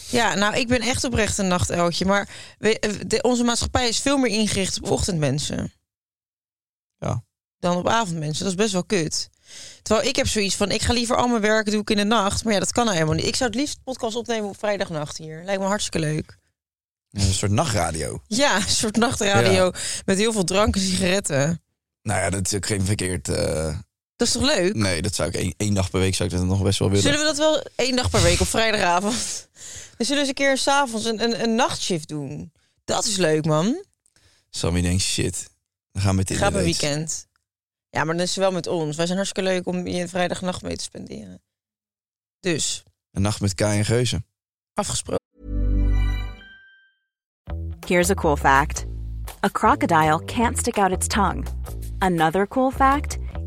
[SPEAKER 5] Ja, nou, ik ben echt oprecht een nachteltje. Maar we- de- onze maatschappij is veel meer ingericht op ochtendmensen.
[SPEAKER 4] Ja.
[SPEAKER 5] Dan op avondmensen. Dat is best wel kut. Terwijl ik heb zoiets van, ik ga liever al mijn werk doe ik in de nacht. Maar ja, dat kan nou helemaal niet. Ik zou het liefst podcast opnemen op vrijdagnacht hier. Lijkt me hartstikke leuk.
[SPEAKER 4] Een soort nachtradio.
[SPEAKER 5] Ja, een soort nachtradio met heel veel drank en sigaretten.
[SPEAKER 4] Nou ja, dat is ook geen verkeerd. eh,
[SPEAKER 5] Dat is toch leuk?
[SPEAKER 4] Nee, dat zou ik één, één dag per week zou ik dat nog best wel willen.
[SPEAKER 5] Zullen we dat wel één dag per week op vrijdagavond? Dan zullen we eens een keer s'avonds een, een, een nachtshift doen. Dat is leuk, man.
[SPEAKER 4] Sammy denkt, shit, we gaan met dit.
[SPEAKER 5] Ga
[SPEAKER 4] een
[SPEAKER 5] per weekend. Ja, maar dan is het wel met ons. Wij zijn hartstikke leuk om je vrijdagnacht mee te spenderen. Dus,
[SPEAKER 4] Een nacht met Kai en Geuze.
[SPEAKER 5] afgesproken.
[SPEAKER 6] Here's a cool fact a crocodile can't stick out its tongue. Another cool fact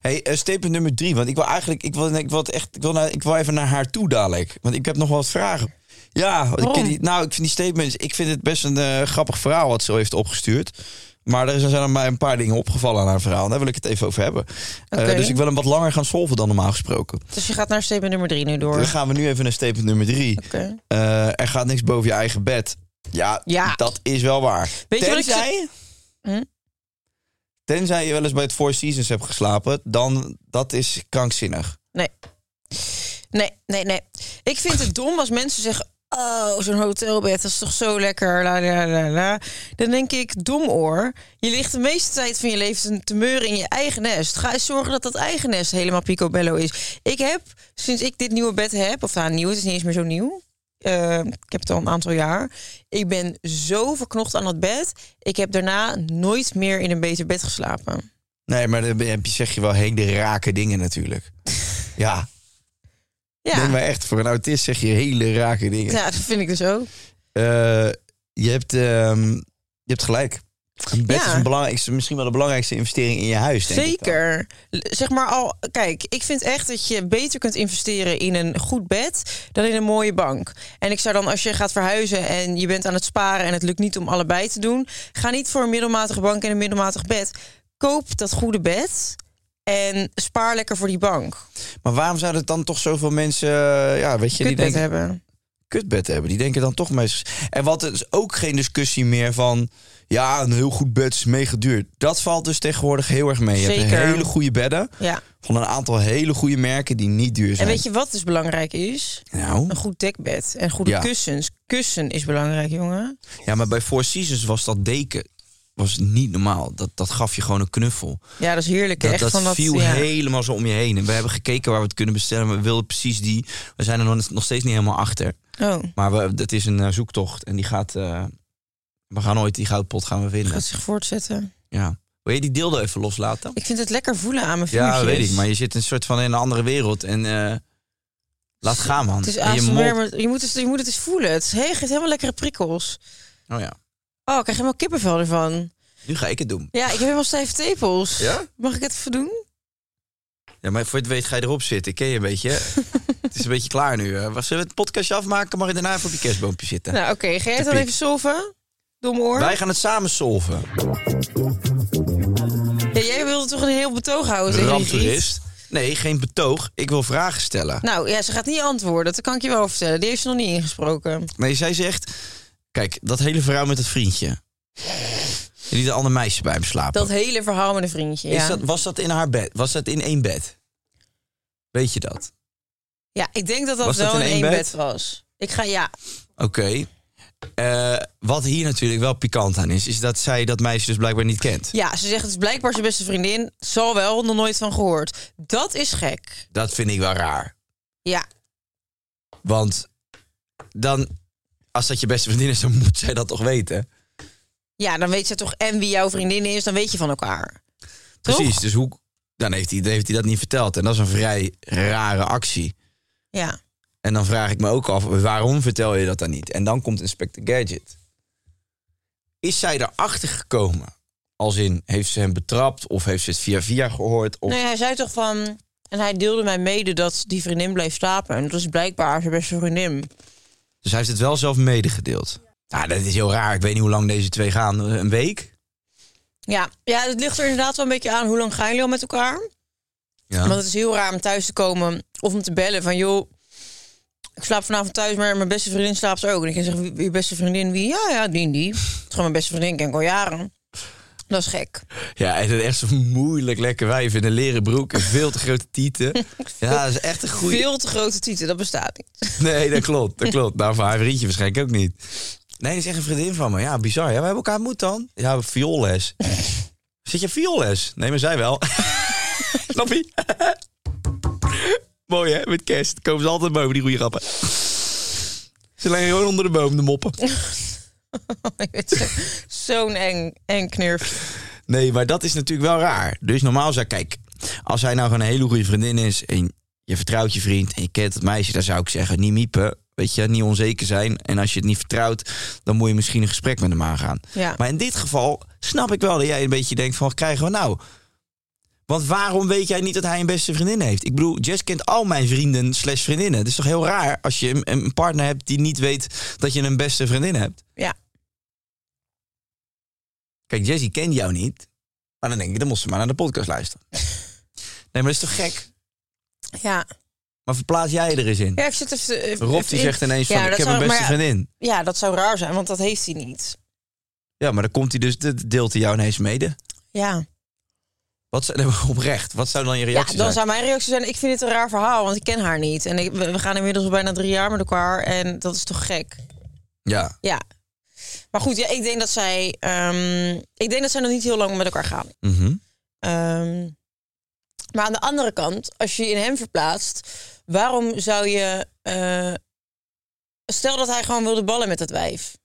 [SPEAKER 4] Hey, eh statement nummer drie. Want ik wil eigenlijk, ik wil, ik wil het echt, ik wil, naar, ik wil even naar haar toe dadelijk. Want ik heb nog wel wat vragen. Ja, ik, ken die- nou, ik vind die statements, ik vind het best een eh, grappig verhaal wat ze heeft opgestuurd. Maar er zijn aan mij een paar dingen opgevallen aan haar verhaal. En daar wil ik het even over hebben. Eh,
[SPEAKER 5] Oké.
[SPEAKER 4] dus ik wil hem wat langer gaan solven dan normaal gesproken.
[SPEAKER 5] Dus je gaat naar statement nummer drie nu door.
[SPEAKER 4] Dan
[SPEAKER 5] Oké.
[SPEAKER 4] gaan we nu even naar statement nummer drie. Eh, er gaat niks boven je eigen bed. Ja,
[SPEAKER 5] Ja.
[SPEAKER 4] dat is wel waar.
[SPEAKER 5] Weet je wat ik
[SPEAKER 4] tenzij,
[SPEAKER 5] Hm?
[SPEAKER 4] tenzij je wel eens bij het Four Seasons hebt geslapen, dan dat is krankzinnig.
[SPEAKER 5] Nee. Nee, nee, nee. Ik vind het dom als mensen zeggen... Oh, zo'n hotelbed, dat is toch zo lekker, la la la la. Dan denk ik, dom oor. Je ligt de meeste tijd van je leven te meuren in je eigen nest. Ga eens zorgen dat dat eigen nest helemaal picobello is. Ik heb, sinds ik dit nieuwe bed heb... Of nou, nieuw, het is niet eens meer zo nieuw. Eh, ik heb het al een aantal jaar. Ik ben zo verknocht aan dat bed. Ik heb daarna nooit meer in een beter bed geslapen.
[SPEAKER 4] Nee, maar dan heb je- zeg je wel hele rake dingen natuurlijk. ja,
[SPEAKER 5] Ja,
[SPEAKER 4] neem maar echt, voor een autist zeg je hele rake dingen.
[SPEAKER 5] ja dat vind ik dus ook.
[SPEAKER 4] Eh, je, hebt, ehm, je hebt gelijk. Een bed
[SPEAKER 5] Ja.
[SPEAKER 4] is een belangrijkste, misschien wel de belangrijkste investering in je huis. Denk ik dan.
[SPEAKER 5] Zeker. L- Zeg maar al, kijk, ik vind echt dat je beter kunt investeren in een goed bed dan in een mooie bank. En ik zou dan, als je gaat verhuizen en je bent aan het sparen en het lukt niet om allebei te doen, ga niet voor een middelmatige bank en een middelmatig bed. Koop dat goede bed en spaar lekker voor die bank.
[SPEAKER 4] Maar waarom zouden het dan toch zoveel mensen, eh, ja, weet je, die
[SPEAKER 5] Kutbed
[SPEAKER 4] denken,
[SPEAKER 5] hebben.
[SPEAKER 4] kutbed hebben. Die denken dan toch meestal... En wat er is ook geen discussie meer van... Ja, een heel goed bed is mega duur. Dat valt dus tegenwoordig heel erg mee. Je
[SPEAKER 5] Zeker.
[SPEAKER 4] hebt hele goede bedden
[SPEAKER 5] Ja.
[SPEAKER 4] van een aantal hele goede merken die niet duur
[SPEAKER 5] En
[SPEAKER 4] zijn.
[SPEAKER 5] weet je wat dus belangrijk is?
[SPEAKER 4] nou,
[SPEAKER 5] Een goed dekbed en goede
[SPEAKER 4] Ja.
[SPEAKER 5] kussens. Kussen is belangrijk, jongen.
[SPEAKER 4] ja, maar bij Four Seasons was dat deken was niet normaal. Dat, dat gaf je gewoon een knuffel.
[SPEAKER 5] Ja, dat is heerlijk. hè?
[SPEAKER 4] Dat,
[SPEAKER 5] Echt
[SPEAKER 4] dat
[SPEAKER 5] van dat,
[SPEAKER 4] viel
[SPEAKER 5] ja.
[SPEAKER 4] helemaal zo om je heen. En we hebben gekeken waar we het kunnen bestellen. maar We wilden precies die. We zijn er nog- nog steeds niet helemaal achter.
[SPEAKER 5] Oh,
[SPEAKER 4] Maar we, het is een eh, zoektocht. En die gaat... eh, we gaan ooit die goudpot gaan we vinden.
[SPEAKER 5] gaat zich voortzetten.
[SPEAKER 4] Ja. Wil je die dildo even loslaten?
[SPEAKER 5] Ik vind het lekker voelen aan mijn vingertjes.
[SPEAKER 4] Ja, weet ik. Maar je zit een soort van in een andere wereld. En eh, laat gaan, man.
[SPEAKER 5] Het is
[SPEAKER 4] en je
[SPEAKER 5] ASMR,
[SPEAKER 4] mond-
[SPEAKER 5] maar je moet, het, je moet het eens voelen. Het is- hey, geeft helemaal lekkere prikkels.
[SPEAKER 4] Oh ja.
[SPEAKER 5] Oh, ik krijg helemaal kippenvel ervan.
[SPEAKER 4] Nu ga ik het doen.
[SPEAKER 5] Ja, ik heb helemaal stijve tepels.
[SPEAKER 4] Ja?
[SPEAKER 5] Mag ik het even doen?
[SPEAKER 4] Ja, maar voor je het weet ga je erop zitten. Ik ken je een beetje. het is een beetje klaar nu. hè. Zullen we het podcastje afmaken? Mag je daarna even op je kerstboompje zitten?
[SPEAKER 5] Nou, oké. Ga jij het dan
[SPEAKER 4] Typiek.
[SPEAKER 5] even solven? Dom oor.
[SPEAKER 4] Wij gaan het samen solven.
[SPEAKER 5] Oh, Ja, jij wilde toch een heel betoog houden tegen die giet?
[SPEAKER 4] Ramtoerist. Nee, geen betoog. Ik wil vragen stellen.
[SPEAKER 5] Nou ja, ze gaat niet antwoorden. Dat kan ik je wel vertellen. Die heeft ze nog niet ingesproken.
[SPEAKER 4] Nee, zij zegt... Kijk, dat hele verhaal met het vriendje. En die de ander meisje bij hem slapen.
[SPEAKER 5] Dat hele verhaal met een vriendje. Ja,
[SPEAKER 4] Is dat, was dat in haar bed? Was dat in één bed? Weet je dat?
[SPEAKER 5] ja ik denk dat dat
[SPEAKER 4] Was
[SPEAKER 5] wel
[SPEAKER 4] dat in
[SPEAKER 5] in
[SPEAKER 4] één
[SPEAKER 5] één bed?
[SPEAKER 4] bed?
[SPEAKER 5] was. Ik ga, ja.
[SPEAKER 4] Oké. Eh, wat hier natuurlijk wel pikant aan is, is dat zij dat meisje dus blijkbaar niet kent.
[SPEAKER 5] ja, ze zegt het is blijkbaar zijn beste vriendin. Zal wel, nog nooit van gehoord. Dat is gek.
[SPEAKER 4] Dat vind ik wel raar.
[SPEAKER 5] Ja,
[SPEAKER 4] Want dan, als dat je beste vriendin is, dan moet zij dat toch weten.
[SPEAKER 5] ja dan weet ze toch en wie jouw vriendin is. Dan weet je van elkaar. Toch?
[SPEAKER 4] Precies, dus hoe, dan heeft hij, heeft hij dat niet verteld. En dat is een vrij rare actie.
[SPEAKER 5] Ja.
[SPEAKER 4] En dan vraag ik me ook af, waarom vertel je dat dan niet? En dan komt Inspector Gadget. Is zij erachter gekomen? Als in, heeft ze hem betrapt? Of heeft ze het via via gehoord? Of...
[SPEAKER 5] Nee, hij zei toch van... En hij deelde mij mede dat die vriendin bleef slapen. En dat is blijkbaar zijn beste vriendin.
[SPEAKER 4] Dus hij heeft het wel zelf medegedeeld. Nou, dat is heel raar. Ik weet niet hoe lang deze twee gaan. Een week?
[SPEAKER 5] Ja, ja, het ligt er inderdaad wel een beetje aan hoe lang gaan jullie al met elkaar.
[SPEAKER 4] Ja.
[SPEAKER 5] Want het is heel raar om thuis te komen of om te bellen van joh, ik slaap vanavond thuis, maar mijn beste vriendin slaapt ook. En ik zeg, wie- je beste vriendin, wie? Ja, ja, die en die. Het is gewoon mijn beste vriendin, ken ik al jaren. Dat is gek.
[SPEAKER 4] ja, en het is echt zo'n moeilijk lekker wijf in een leren broek en veel te grote tieten. Ja, dat is echt een goede...
[SPEAKER 5] Veel te grote titel, dat bestaat niet.
[SPEAKER 4] Nee, dat klopt, dat klopt. Nou, voor haar vriendje waarschijnlijk ook niet. Nee, dat is echt een vriendin van me. Ja, bizar. Ja, we hebben elkaar ontmoet dan. Ja, vioolles. Zit je op vioolles? Nee, maar zij wel. Snap je? Mooi hè, met kerst. Komen ze altijd boven, die goede grappen. Ze liggen gewoon onder de boom, de moppen.
[SPEAKER 5] Ik weet het, Zo'n eng, eng knurf.
[SPEAKER 4] Nee, maar dat is natuurlijk wel raar. Dus normaal zou kijk, als hij nou gewoon een hele goede vriendin is en je vertrouwt je vriend en je kent het meisje, dan zou ik zeggen, niet miepen. Weet je, niet onzeker zijn. En als je het niet vertrouwt, dan moet je misschien een gesprek met hem aangaan.
[SPEAKER 5] Ja.
[SPEAKER 4] Maar in dit geval snap ik wel dat jij een beetje denkt van, wat krijgen we nou? Want waarom weet jij niet dat hij een beste vriendin heeft? Ik bedoel, Jess kent al mijn vrienden slash vriendinnen. Het is toch heel raar als je een- een partner hebt die niet weet dat je een beste vriendin hebt?
[SPEAKER 5] Ja.
[SPEAKER 4] Kijk, Jessie kent jou niet. Maar dan denk ik, dan moest ze maar naar de podcast luisteren. Nee, maar dat is toch gek?
[SPEAKER 5] Ja.
[SPEAKER 4] Maar verplaats jij er eens in.
[SPEAKER 5] ja, ik zit even... te- even-
[SPEAKER 4] Rob
[SPEAKER 5] even
[SPEAKER 4] die
[SPEAKER 5] in-
[SPEAKER 4] zegt ineens van,
[SPEAKER 5] Ja,
[SPEAKER 4] ik
[SPEAKER 5] dat
[SPEAKER 4] heb een
[SPEAKER 5] zou-
[SPEAKER 4] beste
[SPEAKER 5] maar ja,
[SPEAKER 4] vriendin.
[SPEAKER 5] Ja, dat zou raar zijn, want dat heeft hij niet.
[SPEAKER 4] Ja, maar dan komt hij dus, dat deelt hij jou ineens mede.
[SPEAKER 5] Ja.
[SPEAKER 4] Wat zou, nee, maar oprecht, wat zou dan je
[SPEAKER 5] Ja,
[SPEAKER 4] reactie
[SPEAKER 5] dan zou
[SPEAKER 4] zijn?
[SPEAKER 5] mijn reactie zijn: ik vind het een raar verhaal, want ik ken haar niet. En ik- we we gaan inmiddels al bijna drie jaar met elkaar en dat is toch gek.
[SPEAKER 4] Ja,
[SPEAKER 5] Ja. Maar goed, ja, ik denk dat zij, ehm, ik denk dat zij nog niet heel lang met elkaar gaan.
[SPEAKER 4] mhm.
[SPEAKER 5] Ehm, maar aan de andere kant, als je je in hem verplaatst, waarom zou je, eh, stel dat hij gewoon wilde ballen met dat wijf,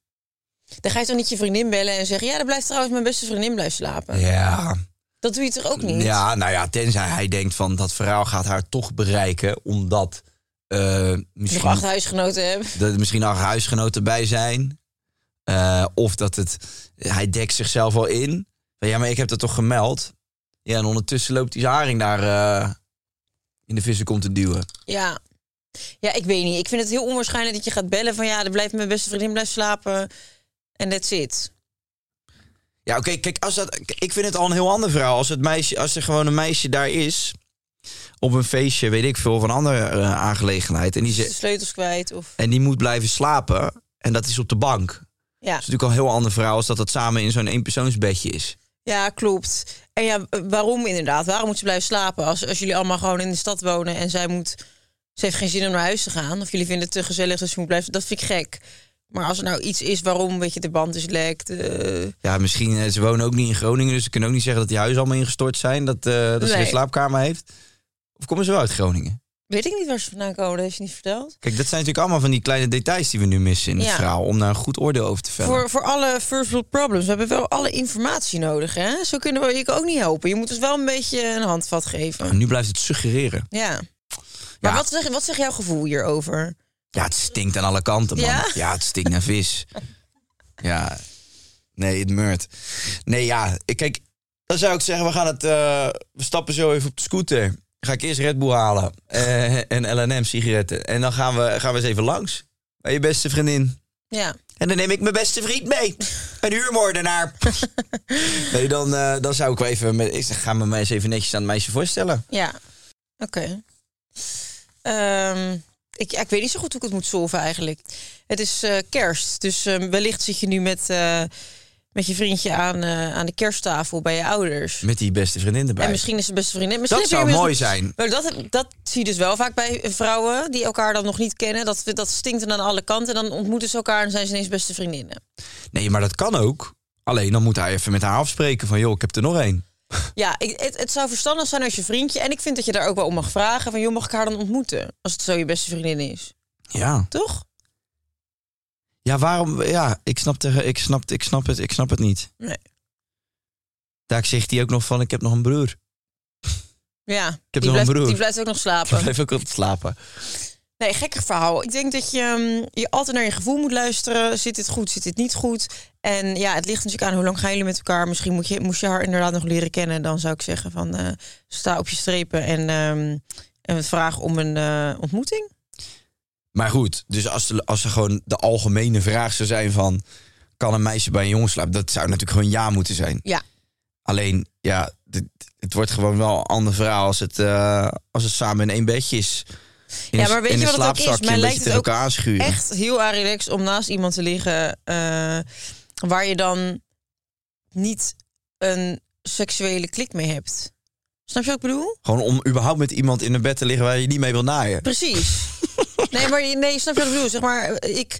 [SPEAKER 5] dan ga je toch niet je vriendin bellen en zeggen: ja, dan blijft trouwens mijn beste vriendin blijven slapen.
[SPEAKER 4] ja.
[SPEAKER 5] Dat doe je toch ook niet.
[SPEAKER 4] Ja, nou ja, tenzij hij denkt van dat verhaal gaat haar toch bereiken, omdat eh,
[SPEAKER 5] Nog
[SPEAKER 4] misschien
[SPEAKER 5] acht huisgenoten hebben.
[SPEAKER 4] dat er misschien al huisgenoten bij zijn. Eh, of dat het, hij dekt zichzelf al in. Van, Ja, maar ik heb dat toch gemeld? Ja, en ondertussen loopt die haring daar eh, in de vissen komt te duwen.
[SPEAKER 5] Ja. Ja, ik weet niet. Ik vind het heel onwaarschijnlijk dat je gaat bellen van ja, er blijft mijn beste vriendin blijft slapen. En that's it.
[SPEAKER 4] Ja, oké, kijk, als dat, ik vind het al een heel ander verhaal. Als, het meisje, als er gewoon een meisje daar is op een feestje, weet ik veel, of een andere eh, aangelegenheid. En die,
[SPEAKER 5] De
[SPEAKER 4] ze-
[SPEAKER 5] sleutels kwijt of...
[SPEAKER 4] en die moet blijven slapen. En dat is op de bank. Dat
[SPEAKER 5] Ja.
[SPEAKER 4] is natuurlijk al een heel ander verhaal als dat dat samen in zo'n eenpersoonsbedje is.
[SPEAKER 5] ja, klopt. En ja, waarom inderdaad? Waarom moet ze blijven slapen? Als, als jullie allemaal gewoon in de stad wonen en zij moet... Ze heeft geen zin om naar huis te gaan. Of jullie vinden het te gezellig, dus ze moet blijven... Dat vind ik gek. Maar als er nou iets is waarom, weet je, de band is lek, de-
[SPEAKER 4] Ja, misschien, eh, ze wonen ook niet in Groningen, dus ze kunnen ook niet zeggen dat die huizen allemaal ingestort zijn. Dat, eh, dat ze
[SPEAKER 5] Nee.
[SPEAKER 4] geen slaapkamer heeft. Of komen ze wel uit Groningen?
[SPEAKER 5] Weet ik niet waar ze vandaan komen, dat heeft ze niet verteld.
[SPEAKER 4] Kijk, dat zijn natuurlijk allemaal van die kleine details die we nu missen in het
[SPEAKER 5] Ja.
[SPEAKER 4] verhaal. Om daar een goed oordeel over te vellen.
[SPEAKER 5] Voor, voor alle first world problems. We hebben wel alle informatie nodig. Hè? Zo kunnen we je ook niet helpen. Je moet ons wel een beetje een handvat
[SPEAKER 4] En
[SPEAKER 5] geven.
[SPEAKER 4] nu blijft het suggereren.
[SPEAKER 5] Ja. Maar
[SPEAKER 4] Ja.
[SPEAKER 5] wat, zeg, wat zegt jouw gevoel hierover?
[SPEAKER 4] Ja, het stinkt aan alle kanten, man. Ja,
[SPEAKER 5] Ja?
[SPEAKER 4] het stinkt naar vis. Ja. Nee, het meurt. Nee, ja. ik- Kijk, dan zou ik zeggen, we gaan het... eh, we stappen zo even op de scooter. Ga ik eerst Red Bull halen. eh, en L&M sigaretten. En dan gaan we, gaan we eens even langs. Bij je beste vriendin.
[SPEAKER 5] Ja.
[SPEAKER 4] En dan neem ik mijn beste vriend mee. Een huurmoordenaar. nee, dan, eh, dan zou ik wel even... Met, ik zeg, ga me maar eens even netjes aan het meisje voorstellen.
[SPEAKER 5] Ja. Oké. Ehm, ik, ja, ik weet niet zo goed hoe ik het moet solven eigenlijk. Het is eh, kerst. Dus ehm, wellicht zit je nu met, eh, met je vriendje aan, eh, aan de kersttafel bij je ouders.
[SPEAKER 4] Met die beste vriendin erbij.
[SPEAKER 5] En misschien is het beste vriendin. Misschien
[SPEAKER 4] dat
[SPEAKER 5] heb je
[SPEAKER 4] zou mooi
[SPEAKER 5] inmiddels-
[SPEAKER 4] zijn.
[SPEAKER 5] Maar dat, dat zie je dus wel vaak bij vrouwen die elkaar dan nog niet kennen. Dat, dat stinkt dan aan alle kanten. En dan ontmoeten ze elkaar en zijn ze ineens beste vriendinnen.
[SPEAKER 4] Nee, maar dat kan ook. Alleen dan moet hij even met haar afspreken van... joh, ik heb er nog één.
[SPEAKER 5] Ja, ik, het, het zou verstandig zijn als je vriendje. En ik vind dat je daar ook wel om mag vragen. Van joh, mag ik haar dan ontmoeten? Als het zo je beste vriendin is.
[SPEAKER 4] Ja.
[SPEAKER 5] Toch?
[SPEAKER 4] Ja, waarom... Ja, ik snap, de, ik, snap, ik snap het, ik snap het niet.
[SPEAKER 5] Nee.
[SPEAKER 4] Daar zegt hij ook nog van, ik heb nog een broer.
[SPEAKER 5] Ja, ik
[SPEAKER 4] heb nog
[SPEAKER 5] die,
[SPEAKER 4] een
[SPEAKER 5] blijft,
[SPEAKER 4] broer.
[SPEAKER 5] die blijft ook nog
[SPEAKER 4] Ik
[SPEAKER 5] slapen.
[SPEAKER 4] blijf ook altijd slapen.
[SPEAKER 5] Nee, gekker verhaal. Ik denk dat je, ehm, je altijd naar je gevoel moet luisteren. Zit dit goed, zit dit niet goed? En ja, het ligt natuurlijk aan hoe lang gaan jullie met elkaar. Misschien moet je, moest je haar inderdaad nog leren kennen. Dan zou ik zeggen van eh, sta op je strepen en, ehm, en vraag om een eh, ontmoeting.
[SPEAKER 4] Maar goed, dus als, de, als er gewoon de algemene vraag zou zijn van... kan een meisje bij een jongen slapen? Dat zou natuurlijk gewoon ja moeten zijn.
[SPEAKER 5] Ja.
[SPEAKER 4] Alleen, ja, dit- het wordt gewoon wel een ander verhaal... als het, eh, als het samen in één bedje is. In
[SPEAKER 5] ja,
[SPEAKER 4] een-
[SPEAKER 5] maar weet
[SPEAKER 4] in
[SPEAKER 5] je
[SPEAKER 4] een
[SPEAKER 5] wat het ook is?
[SPEAKER 4] slaapzakje
[SPEAKER 5] Mij
[SPEAKER 4] een
[SPEAKER 5] lijkt
[SPEAKER 4] beetje
[SPEAKER 5] het
[SPEAKER 4] tegen
[SPEAKER 5] ook
[SPEAKER 4] elkaar aanschuren.
[SPEAKER 5] Echt heel aan relaxed om naast iemand te liggen eh, waar je dan niet een seksuele klik mee hebt. Snap je wat ik bedoel?
[SPEAKER 4] Gewoon om überhaupt met iemand in een bed te liggen waar je niet mee wil naaien.
[SPEAKER 5] Precies. nee, maar je- nee, snap je wat ik bedoel? Zeg maar, eh, ik,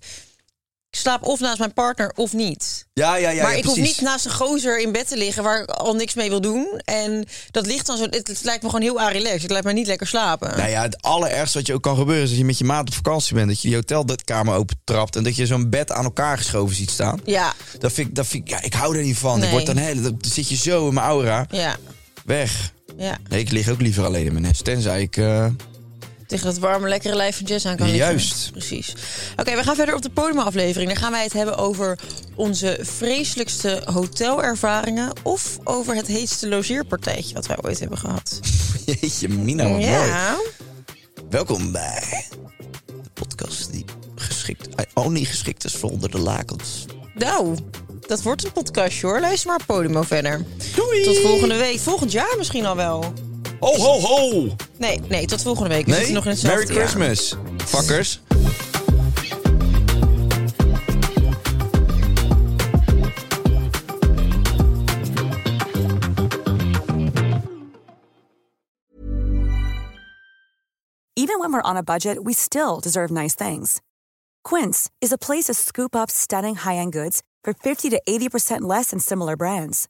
[SPEAKER 5] ik slaap of naast mijn partner of niet.
[SPEAKER 4] Ja, ja, ja.
[SPEAKER 5] maar
[SPEAKER 4] ja,
[SPEAKER 5] ik hoef
[SPEAKER 4] precies.
[SPEAKER 5] niet naast een gozer in bed te liggen waar ik al niks mee wil doen. En dat ligt dan zo. Het, het lijkt me gewoon heel relaxed. Het lijkt me niet lekker slapen.
[SPEAKER 4] Nou ja, het allerergste wat je ook kan gebeuren is dat je met je maat op vakantie bent. Dat je die hotelkamer opentrapt en dat je zo'n bed aan elkaar geschoven ziet staan.
[SPEAKER 5] Ja,
[SPEAKER 4] Dat vind ik, dat vind ik, ja, ik hou er niet van. Ik
[SPEAKER 5] Nee.
[SPEAKER 4] word dan, heel, dan zit je zo in mijn aura.
[SPEAKER 5] ja,
[SPEAKER 4] Weg.
[SPEAKER 5] ja.
[SPEAKER 4] Nee, ik lig ook liever alleen in mijn nest. Tenzij ik... eh,
[SPEAKER 5] Tegen dat warme, lekkere lijf van Jess aan kan liggen.
[SPEAKER 4] Juist.
[SPEAKER 5] Precies. Oké, we gaan verder op de podiumaflevering. Dan gaan wij het hebben over onze vreselijkste hotelervaringen... of over het heetste logeerpartijtje wat wij ooit hebben gehad.
[SPEAKER 4] Jeetje, Mina, wat mooi.
[SPEAKER 5] ja.
[SPEAKER 4] Welkom bij de podcast die geschikt, only geschikt is voor onder de lakens.
[SPEAKER 5] Nou, dat wordt een podcastje hoor. Luister maar Podimo verder. Doei! Tot volgende week. Volgend jaar misschien al wel.
[SPEAKER 4] Oh, ho, ho!
[SPEAKER 5] Nee, nee, tot volgende week. We
[SPEAKER 4] Nee,
[SPEAKER 5] zitten nog in hetzelfde
[SPEAKER 4] Merry
[SPEAKER 5] jaar.
[SPEAKER 4] Christmas, fuckers.
[SPEAKER 6] even when we're on a budget, we still deserve nice things. Quince is a place to scoop up stunning high-end goods for 50 to 80% less than similar brands.